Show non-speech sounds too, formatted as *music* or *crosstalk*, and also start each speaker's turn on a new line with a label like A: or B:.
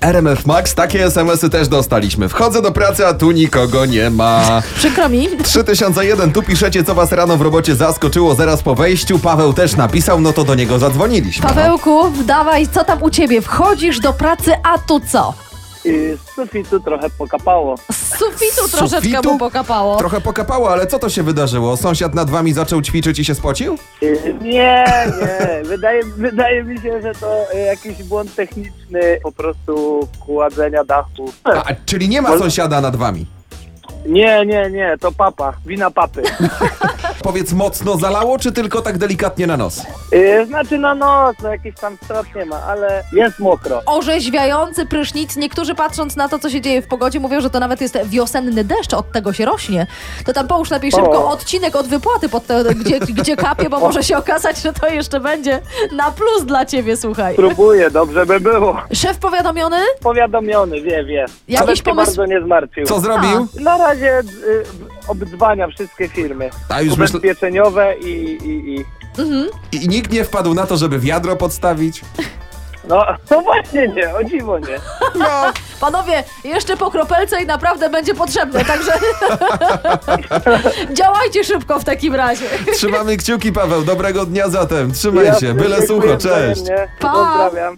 A: RMF Max. Takie SMS-y też dostaliśmy. Wchodzę do pracy, a tu nikogo nie ma.
B: Przykro mi.
A: 3001, tu piszecie, co was rano w robocie zaskoczyło zaraz po wejściu. Paweł też napisał, no to do niego zadzwoniliśmy.
B: Pawełku, dawaj, co tam u ciebie? Wchodzisz do pracy, a tu co?
C: I z sufitu trochę pokapało.
B: Z sufitu
A: Z
B: troszeczkę
A: sufitu?
B: mu pokapało.
A: Trochę pokapało, ale co to się wydarzyło? Sąsiad nad wami zaczął ćwiczyć i się spocił?
C: Y, Nie, nie. Wydaje, wydaje mi się, że to y, jakiś błąd techniczny po prostu kładzenia dachu.
A: A, czyli nie ma
C: Może-
A: sąsiada nad wami.
C: Nie, nie, nie, to papa, wina papy.
A: Powiedz, mocno zalało, czy tylko tak delikatnie na nos?
C: Y, Znaczy na nos, no jakiś tam strat nie ma, ale jest mokro.
B: Orzeźwiający prysznic. Niektórzy patrząc na to, co się dzieje w pogodzie, mówią, że to nawet jest wiosenny deszcz, od tego się rośnie. To tam połóż lepiej szybko
C: O.
B: odcinek od wypłaty, pod te, gdzie, gdzie kapie, bo może się okazać, że to jeszcze będzie na plus dla ciebie, słuchaj.
C: Próbuję, dobrze by było.
B: Szef powiadomiony?
C: Powiadomiony, wie, wie.
B: Jakiś
C: Ale się
B: pomysł-
C: bardzo nie zmartwił.
A: Co zrobił?
C: Na razie y, obdzwania wszystkie firmy.
A: A już myśl...
C: Ubezpieczeniowe i, i, i...
A: I nikt nie wpadł na to, żeby wiadro podstawić?
C: No, *laughs* no właśnie nie, o dziwo nie.
A: No,
B: Panowie, jeszcze po kropelce i naprawdę będzie potrzebne, także *laughs* działajcie szybko w takim razie.
A: trzymamy kciuki, Paweł. Dobrego dnia zatem. Trzymaj się. Byle
C: Dziękuję
A: sucho. Cześć.
C: wzajemnie.
B: Pa.
C: Pozdrawiam.